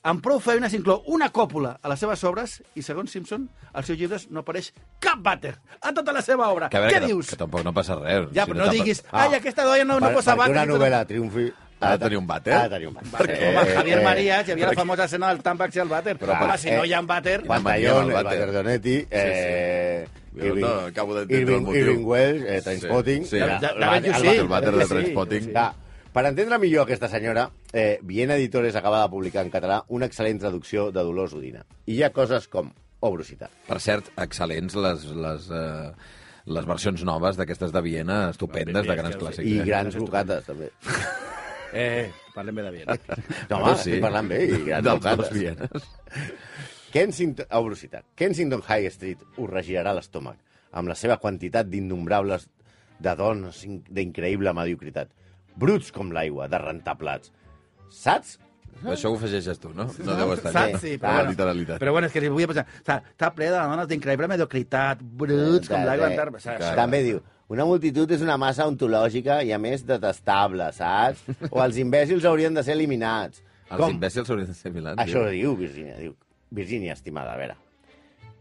[SPEAKER 6] amb prou feines inclou una còpula a les seves obres i, segons Simpson, als seus llibres no apareix cap vàter a tota la seva obra.
[SPEAKER 4] Que a veure,
[SPEAKER 6] Què
[SPEAKER 4] que, tam-
[SPEAKER 6] dius?
[SPEAKER 4] Que tampoc no passa res.
[SPEAKER 6] Ja,
[SPEAKER 4] Si
[SPEAKER 6] però no
[SPEAKER 4] tampoc-
[SPEAKER 6] diguis, ai, aquesta noia no, no posa
[SPEAKER 5] Ah, perquè
[SPEAKER 6] vàter.
[SPEAKER 5] una
[SPEAKER 6] i tot".
[SPEAKER 5] novel·la triomfi...
[SPEAKER 4] Ha de tenir un vàter.
[SPEAKER 5] Ha de tenir un eh, vàter.
[SPEAKER 6] Perquè, home,
[SPEAKER 4] Eh,
[SPEAKER 6] Javier Marías, hi havia la famosa escena del tàmpax i el vàter. Però, home, si
[SPEAKER 4] eh,
[SPEAKER 6] no hi ha vàter...
[SPEAKER 4] Quan- Quina mania
[SPEAKER 5] Pantallón,
[SPEAKER 4] del
[SPEAKER 5] el
[SPEAKER 4] vàter.
[SPEAKER 5] vàter d'Onetti, eh,
[SPEAKER 4] Jo no acabo d'entendre el
[SPEAKER 5] Irving,
[SPEAKER 4] motiu.
[SPEAKER 5] Irving Wells, eh, Trainspotting...
[SPEAKER 4] Sí, sí.
[SPEAKER 5] el-
[SPEAKER 6] Ja-
[SPEAKER 5] el
[SPEAKER 6] ja
[SPEAKER 5] vàter-
[SPEAKER 6] veig que
[SPEAKER 5] el
[SPEAKER 6] sí,
[SPEAKER 5] vàter-
[SPEAKER 6] ja veig
[SPEAKER 4] de
[SPEAKER 6] que sí,
[SPEAKER 4] Trainspotting.
[SPEAKER 6] sí.
[SPEAKER 5] Clar, per entendre millor aquesta senyora, eh, Viena Editores acaba de publicar en català una excel·lent traducció de Dolors Udina. I hi ha coses com obrositat,
[SPEAKER 4] Per cert, excel·lents les, les, eh, les versions noves d'aquestes de Viena, estupendes, de grans clàssics.
[SPEAKER 5] i
[SPEAKER 4] eh?
[SPEAKER 5] grans bocates, també.
[SPEAKER 6] Eh, parlem bé de Viena.
[SPEAKER 5] No, home,
[SPEAKER 4] Bueno,
[SPEAKER 5] estic parlant bé, i grans
[SPEAKER 4] Dels dos
[SPEAKER 5] bocates.
[SPEAKER 4] Vienes.
[SPEAKER 5] Kensington, a velocitat. Kensington High Street us regirarà l'estómac amb la seva quantitat d'innombrables de dones in- d'increïble mediocritat. Bruts com l'aigua, de rentar plats. Saps?
[SPEAKER 4] Això ho afegeixes tu, no? No deu estar
[SPEAKER 6] Saps? Sí, però,
[SPEAKER 4] ah,
[SPEAKER 6] bueno,
[SPEAKER 4] literalitat.
[SPEAKER 6] però bueno, és que si volia pensar... Està, està ple de dones d'increïble mediocritat,
[SPEAKER 5] Eh,
[SPEAKER 6] bruts, com l'aigua en terra.
[SPEAKER 5] Clar. També diu, una multitud és una massa ontològica i, a més, detestable,
[SPEAKER 6] <laughs>
[SPEAKER 5] saps? O els imbècils haurien de ser eliminats.
[SPEAKER 4] Els imbècils haurien de ser milans.
[SPEAKER 5] Això ho diu Virgínia, diu. Virgínia, estimada, a veure,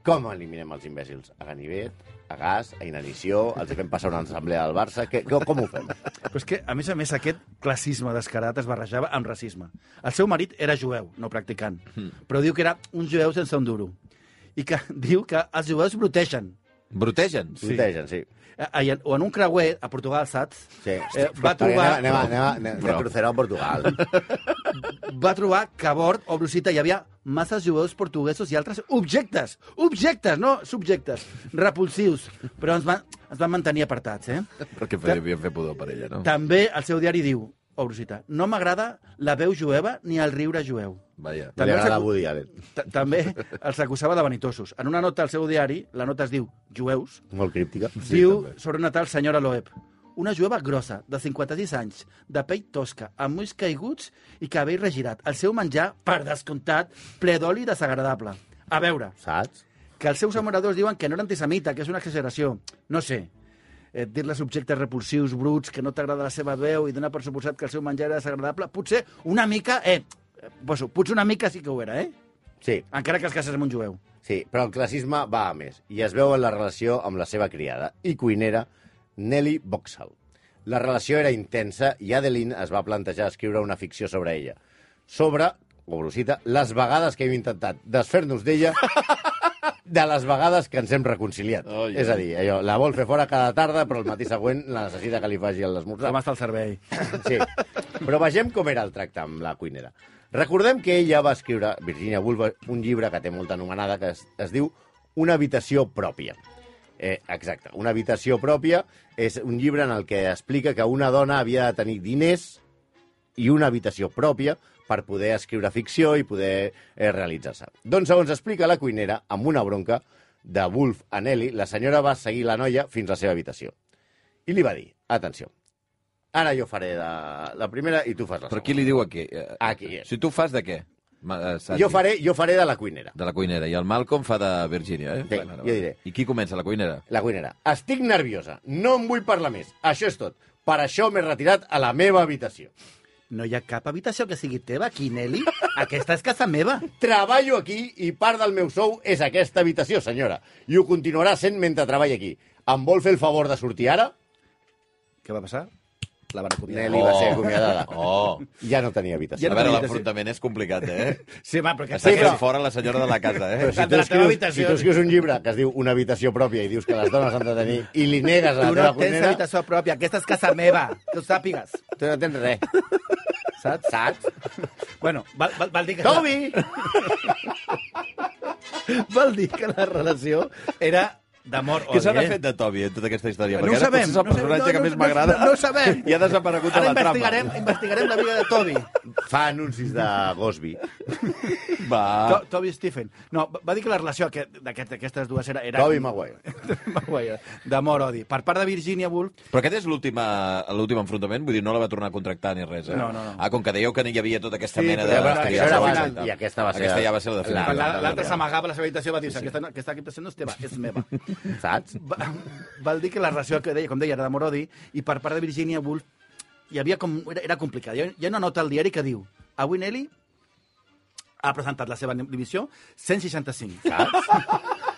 [SPEAKER 5] com eliminem els imbècils? A ganivet, a gas, a inanició, els fem passar una assemblea del Barça, que, que, com ho
[SPEAKER 6] <laughs>
[SPEAKER 5] fem?
[SPEAKER 6] Però és que, a més a més, aquest classisme descarat es barrejava amb racisme. El seu marit era jueu, no practicant,
[SPEAKER 5] Hmm.
[SPEAKER 6] però diu que era un jueu sense un duro. I que <laughs> diu que els jueus brotegen.
[SPEAKER 4] Brutegen.
[SPEAKER 5] Sí. Brutegen, sí.
[SPEAKER 6] Eh, ai, en- O en un creuer, a Portugal, saps?
[SPEAKER 5] sí.
[SPEAKER 6] Eh, va trobar-
[SPEAKER 5] Anem, anem, anem, anem, anem
[SPEAKER 4] Però-
[SPEAKER 5] de crucero a Portugal.
[SPEAKER 6] Va trobar que a bord o brusita hi havia masses jueus portuguesos i altres objectes. Objectes, no subjectes. Repulsius. Però ens van, ens van mantenir apartats, eh?
[SPEAKER 4] Perquè devien fer pudor per ella, no?
[SPEAKER 6] També el seu diari diu, Obrusita, no m'agrada la veu jueva ni el riure jueu.
[SPEAKER 4] Vaja.
[SPEAKER 5] Li
[SPEAKER 6] També els
[SPEAKER 5] agrada
[SPEAKER 6] acu-
[SPEAKER 5] Woody Allen.
[SPEAKER 6] Ta- També els acusava de vanitosos. En una nota al seu diari, la nota es diu Jueus,
[SPEAKER 5] Molt críptica.
[SPEAKER 6] sí, diu sobre una tal senyora Loeb, una jueva grossa, de 56 anys, de pell tosca, amb ulls caiguts i cabell regirat. El seu menjar, per descomptat, ple d'oli desagradable. A veure,
[SPEAKER 5] Saps?
[SPEAKER 6] que els seus amoradors diuen que no era antisemita, que és una exageració. No sé. Eh, dir-les subjectes repulsius, bruts, que no t'agrada la seva veu i donar per suposat que el seu menjar era desagradable, potser una mica... Eh, eh, poso, potser una mica sí que ho era, eh?
[SPEAKER 5] Sí,
[SPEAKER 6] Encara que es casés amb un jueu.
[SPEAKER 5] sí, però el classisme va a més i es veu en la relació amb la seva criada i cuinera, Nelly Boxall. La relació era intensa i Adeline es va plantejar escriure una ficció sobre ella. Sobre, o brusita, les vegades que hem intentat
[SPEAKER 4] <laughs>
[SPEAKER 5] desfer-nos d'ella de les vegades que ens hem reconciliat.
[SPEAKER 4] Ai,
[SPEAKER 5] És a dir, allò, la vol fer fora cada tarda, però el matí següent la necessita que li faci l'esmorzar.
[SPEAKER 6] Com està el servei?
[SPEAKER 5] Sí. Però vegem com era el tracte amb la cuinera. Recordem que ella va escriure, Virginia Woolf, un llibre que té molta anomenada, que es, es diu Una habitació pròpia. Eh, exacte, Una habitació pròpia és un llibre en el que explica que una dona havia de tenir diners i una habitació pròpia per poder escriure ficció i poder eh, realitzar-se. Doncs, segons explica la cuinera, amb una bronca de Wolf a Nelly, la senyora va seguir la noia fins a la seva habitació. I li va dir, atenció, ara jo faré de la primera i tu fas la
[SPEAKER 4] Però
[SPEAKER 5] segona.
[SPEAKER 4] qui li diu a què? Eh,
[SPEAKER 5] A qui és?
[SPEAKER 4] Si tu fas de què? Ma- eh, Santi?
[SPEAKER 5] Jo faré, jo faré de la cuinera.
[SPEAKER 4] De la cuinera. I el Malcolm fa de Virginia, eh?
[SPEAKER 5] Sí, jo diré.
[SPEAKER 4] I qui comença, la cuinera?
[SPEAKER 5] La cuinera. Estic nerviosa, no em vull parlar més. Això és tot. Per això m'he retirat a la meva habitació.
[SPEAKER 6] No hi ha cap habitació que sigui teva aquí, Nelly. Aquesta és casa meva.
[SPEAKER 5] Treballo aquí i part del meu sou és aquesta habitació, senyora. I ho continuarà sent mentre treballi aquí. Em vol fer el favor de sortir ara?
[SPEAKER 6] Què va passar? La van acomiadar.
[SPEAKER 5] Nelly va ser acomiadada.
[SPEAKER 4] Oh!
[SPEAKER 5] Oh. Ja no tenia
[SPEAKER 4] A
[SPEAKER 5] habitació.
[SPEAKER 4] veure,
[SPEAKER 6] tenia
[SPEAKER 4] l'enfrontament és complicat, eh?
[SPEAKER 6] Sí, va, perquè...
[SPEAKER 4] Està
[SPEAKER 5] <laughs> Sí, però-
[SPEAKER 4] fent fora la senyora de la casa, eh?
[SPEAKER 5] Però si
[SPEAKER 6] de
[SPEAKER 5] tu,
[SPEAKER 6] la teva
[SPEAKER 5] escrius, si
[SPEAKER 6] habitació.
[SPEAKER 5] tu escrius un llibre que es diu Una habitació pròpia i dius que les dones han de tenir i li negues a
[SPEAKER 6] Tu
[SPEAKER 5] la
[SPEAKER 6] no
[SPEAKER 5] teva
[SPEAKER 6] tens
[SPEAKER 5] cuinera,
[SPEAKER 6] habitació pròpia, aquesta és casa meva, que ho sàpigues.
[SPEAKER 5] tu no tens res. Saps? Saps?
[SPEAKER 6] Bueno, val, val, val dir que...
[SPEAKER 5] <laughs> Toby!
[SPEAKER 6] Val dir que la relació era d'amor
[SPEAKER 4] Què se n'ha
[SPEAKER 6] odi, eh?
[SPEAKER 4] fet de Toby en tota aquesta història?
[SPEAKER 6] No
[SPEAKER 4] Perquè
[SPEAKER 6] ho
[SPEAKER 4] ara
[SPEAKER 6] sabem,
[SPEAKER 4] potser és
[SPEAKER 6] no
[SPEAKER 4] el
[SPEAKER 6] ho sabem,
[SPEAKER 4] personatge
[SPEAKER 6] no,
[SPEAKER 4] que
[SPEAKER 6] no,
[SPEAKER 4] més
[SPEAKER 6] no,
[SPEAKER 4] m'agrada
[SPEAKER 6] no ho sabem.
[SPEAKER 4] <laughs> i ha desaparegut
[SPEAKER 6] Ara
[SPEAKER 4] de la trama.
[SPEAKER 6] investigarem, investigarem la vida de Toby.
[SPEAKER 5] Fa anuncis de Gosby.
[SPEAKER 4] Va.
[SPEAKER 6] To- Toby Stephen. No, va dir que la relació aquest- d'aquest- d'aquestes dues era... era <laughs>
[SPEAKER 5] Toby Maguire.
[SPEAKER 6] Maguire. D'amor-odi. Per part de Virginia Woolf,
[SPEAKER 4] Però aquest és l'últim eh, l'últim enfrontament? Vull dir, no la va tornar a contractar ni res, eh?
[SPEAKER 6] No, no, no.
[SPEAKER 4] Ah, com que dèieu que hi havia tota aquesta
[SPEAKER 6] Sí,
[SPEAKER 4] mena
[SPEAKER 6] però
[SPEAKER 4] de...
[SPEAKER 6] ja va-
[SPEAKER 4] de-
[SPEAKER 6] això era abans,
[SPEAKER 4] de-
[SPEAKER 5] i aquesta va ser
[SPEAKER 4] Aquesta
[SPEAKER 5] la-
[SPEAKER 4] ja va ser la definitiva.
[SPEAKER 5] la-
[SPEAKER 6] la- l'altre
[SPEAKER 5] la-
[SPEAKER 6] s'amagava a la seva habitació i va dir aquesta, no- aquesta habitació no és teva, és meva. <laughs>
[SPEAKER 5] Saps?
[SPEAKER 6] Va, val dir que la relació que deia, com deia, era d'amor-odi, i per part de Virginia Woolf hi havia com... Era, era complicat. Hi ha, hi ha una nota al diari que diu avui Nelly ha presentat la seva divisió 165. Saps?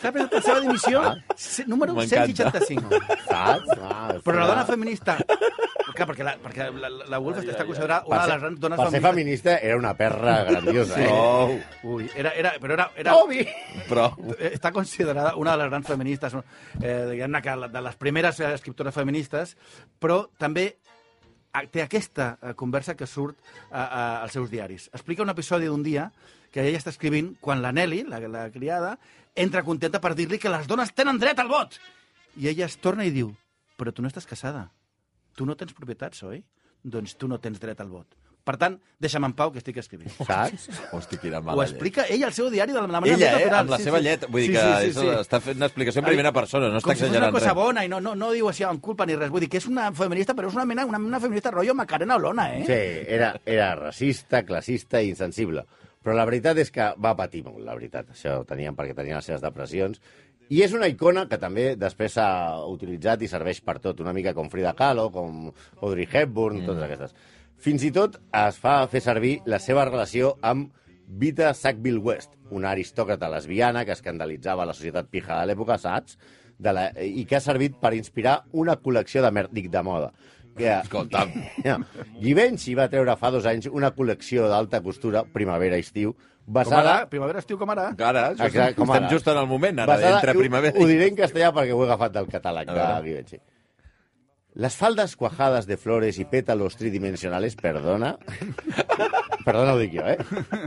[SPEAKER 6] S'ha presentat la seva divisió se- número
[SPEAKER 4] M'encanta.
[SPEAKER 6] 165.
[SPEAKER 5] Saps? Ah,
[SPEAKER 6] Però la dona
[SPEAKER 5] feminista...
[SPEAKER 6] feminista... Clar, perquè la, perquè la, la, la Wolf està considerada una de les grans dones
[SPEAKER 5] Per ser feminista era una perra grandiosa,
[SPEAKER 4] Sí.
[SPEAKER 5] eh?
[SPEAKER 4] Oh,
[SPEAKER 6] Ui, era, era, però era, era,
[SPEAKER 5] Toby!
[SPEAKER 4] però...
[SPEAKER 6] Eh, està considerada una de les grans feministes, no? eh, diguem-ne que la- de les primeres eh, escriptores feministes, però també a- té aquesta eh, conversa que surt eh, a- als seus diaris. Explica un episodi d'un dia que ella està escrivint quan la Nelly, la, la criada, entra contenta per dir-li que les dones tenen dret al vot. I ella es torna i diu, però tu no estàs casada, tu no tens propietats, oi? Doncs tu no tens dret al vot. Per tant, deixa'm en pau que estic escrivint.
[SPEAKER 5] Saps?
[SPEAKER 4] Hosti, quina
[SPEAKER 6] Ho
[SPEAKER 4] mala llet.
[SPEAKER 6] explica ella al seu diari de la manera
[SPEAKER 4] Ella,
[SPEAKER 6] més
[SPEAKER 4] eh,
[SPEAKER 6] natural.
[SPEAKER 4] amb la
[SPEAKER 6] Sí,
[SPEAKER 4] seva
[SPEAKER 6] sí.
[SPEAKER 4] llet. Vull dir
[SPEAKER 6] Sí,
[SPEAKER 4] que
[SPEAKER 6] sí, sí,
[SPEAKER 4] això
[SPEAKER 6] sí.
[SPEAKER 4] està fent una explicació en primera persona, no està
[SPEAKER 6] Com si fos una
[SPEAKER 4] exagerant
[SPEAKER 6] cosa
[SPEAKER 4] res.
[SPEAKER 6] bona i no, no, no diu així amb culpa ni res. Vull dir que és una feminista, però és una mena, una, una feminista rotllo Macarena Olona, eh?
[SPEAKER 5] Sí, era, era racista, classista i insensible. Però la veritat és que va patir molt, la veritat. Això ho tenien perquè tenien les seves depressions. I és una icona que també després s'ha utilitzat i serveix per tot, una mica com Frida Kahlo, com Audrey Hepburn, mm. totes aquestes. Fins i tot es fa fer servir la seva relació amb Vita Sackville West, una aristòcrata lesbiana que escandalitzava la societat pija de l'època, saps? De la, I que ha servit per inspirar una col·lecció de mèrdic de moda. Que,
[SPEAKER 4] Escolta'm.
[SPEAKER 5] <laughs> Ja. Givenchy va treure fa dos anys una col·lecció d'alta costura, primavera-estiu,
[SPEAKER 6] Com ara,
[SPEAKER 5] basada...
[SPEAKER 6] primavera, estiu, com ara.
[SPEAKER 4] Ara, just,
[SPEAKER 5] Exacte, com
[SPEAKER 4] estem
[SPEAKER 5] ara.
[SPEAKER 4] just en el moment, ara, entre primavera
[SPEAKER 5] Ho, ho
[SPEAKER 4] i...
[SPEAKER 5] diré en castellà perquè ho he agafat del
[SPEAKER 4] A
[SPEAKER 5] catàleg
[SPEAKER 6] Ah.
[SPEAKER 5] de
[SPEAKER 4] veure.
[SPEAKER 5] Givenchy. Las faldas cuajadas de flores y pétalos tridimensionales, perdona, <laughs> perdona lo dic jo, eh?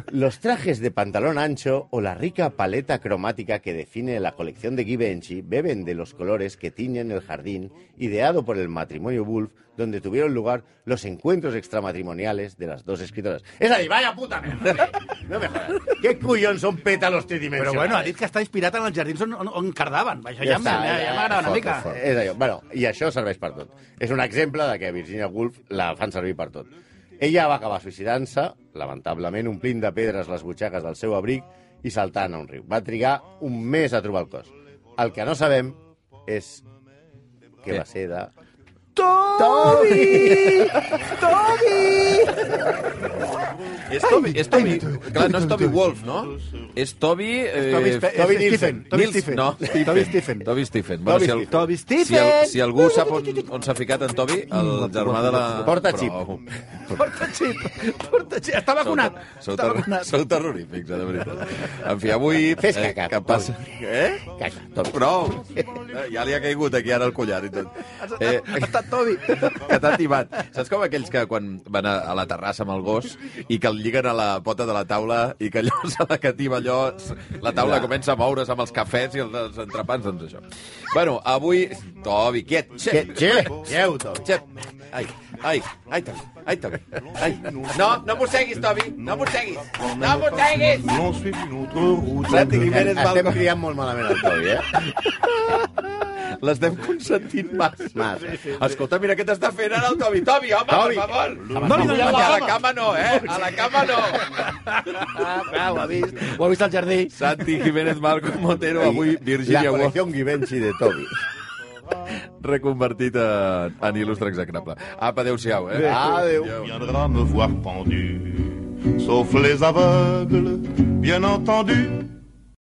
[SPEAKER 5] Los trajes de pantalón ancho o la rica paleta cromática que define la colección de Givenchy beben de los colores que tiñen el jardín ideado por el matrimonio Wolf, donde tuvieron lugar los encuentros extramatrimoniales de las dos escritoras. Es ahí, vaya puta mierda. No me jodas. ¿Qué cuyón son pétalos
[SPEAKER 6] Però
[SPEAKER 5] tridimensionales?
[SPEAKER 6] bueno, ha dit que està inspirat en els jardins on, on, on cardaven. Això ja, ja, ja, ja m'agrada una
[SPEAKER 5] Fort,
[SPEAKER 6] mica.
[SPEAKER 5] fort. És allò. Bueno, I això serveix per tot. És un exemple de que Virginia Woolf la fan servir per tot. Ella va acabar suïcidant-se, lamentablement omplint de pedres les butxaques del seu abric i saltant a un riu. Va trigar un mes a trobar el cos. El que no sabem és
[SPEAKER 6] Eh.
[SPEAKER 5] que
[SPEAKER 4] Què?
[SPEAKER 5] va ser de...
[SPEAKER 6] Toby! Toby!
[SPEAKER 4] És Toby, és Toby, clar, no és Toby Wolf, no? És Toby... Eh,
[SPEAKER 6] Spe-
[SPEAKER 5] Toby
[SPEAKER 6] eh,
[SPEAKER 5] Nielsen.
[SPEAKER 6] Stephen, Toby
[SPEAKER 4] Nils-
[SPEAKER 6] Stephen.
[SPEAKER 4] No,
[SPEAKER 6] Toby Stephen.
[SPEAKER 4] Toby Stephen. Bueno,
[SPEAKER 5] Toby
[SPEAKER 4] si el,
[SPEAKER 5] Stephen.
[SPEAKER 6] Toby
[SPEAKER 4] Si, el,
[SPEAKER 6] Stephen!
[SPEAKER 4] si algú sap on, on s'ha ficat en Toby, el germà de la...
[SPEAKER 5] Porta
[SPEAKER 4] Però-
[SPEAKER 5] xip.
[SPEAKER 6] Porta xip! Porta xip! Està
[SPEAKER 4] Sou,
[SPEAKER 6] vacunat!
[SPEAKER 4] ter- sou,
[SPEAKER 6] Està
[SPEAKER 4] ter
[SPEAKER 6] vacunat.
[SPEAKER 4] sou terrorífics, eh, de veritat. En fi, avui...
[SPEAKER 5] Fes caca,
[SPEAKER 4] que passa... Eh?
[SPEAKER 5] Caixa, tot.
[SPEAKER 4] Prou! Eh, Ja li ha caigut aquí ara el collar i tot. Eh,
[SPEAKER 6] Ha estat Toby!
[SPEAKER 4] <laughs> que t'ha timat. Saps com aquells que quan van a, a la terrassa amb el gos i que el lliguen a la pota de la taula i que allò <laughs> se la cativa allò, s- la taula comença a moure's amb els cafès i els, els entrepans, doncs això. Bueno, avui... Tobi, quiet,
[SPEAKER 5] Que,
[SPEAKER 4] xep,
[SPEAKER 5] xep, xeu, tot.
[SPEAKER 4] xep. Ai, ai, ai, Tobi, ai, Tobi. Ai. No, no mosseguis, Tobi, no mosseguis. No mosseguis!
[SPEAKER 3] Nous avons suivi notre route.
[SPEAKER 4] Santi Jiménez
[SPEAKER 5] Estem
[SPEAKER 4] Balcó.
[SPEAKER 5] criant molt malament el Toby, eh?
[SPEAKER 4] L'estem consentint massa.
[SPEAKER 5] Massa.
[SPEAKER 4] Escolta, mira què t'està fent ara el Tobi. Tobi, home,
[SPEAKER 5] Tobi.
[SPEAKER 4] per favor!
[SPEAKER 5] No li donis la
[SPEAKER 4] a la
[SPEAKER 5] cama.
[SPEAKER 4] cama no, eh? A la cama no!
[SPEAKER 6] Ah, ho ha vist. Ho ha vist al jardí.
[SPEAKER 4] Santi Jiménez Malcom Montero, avui
[SPEAKER 5] la
[SPEAKER 4] Virginia Woolf
[SPEAKER 5] col·lecció Givenchy de Toby.
[SPEAKER 4] reconvertit en, en il·lustre execrable. Apa, adéu-siau, eh?
[SPEAKER 5] Adéu.
[SPEAKER 3] viendra me voir pendu, sauf les aveugles, bien entendu.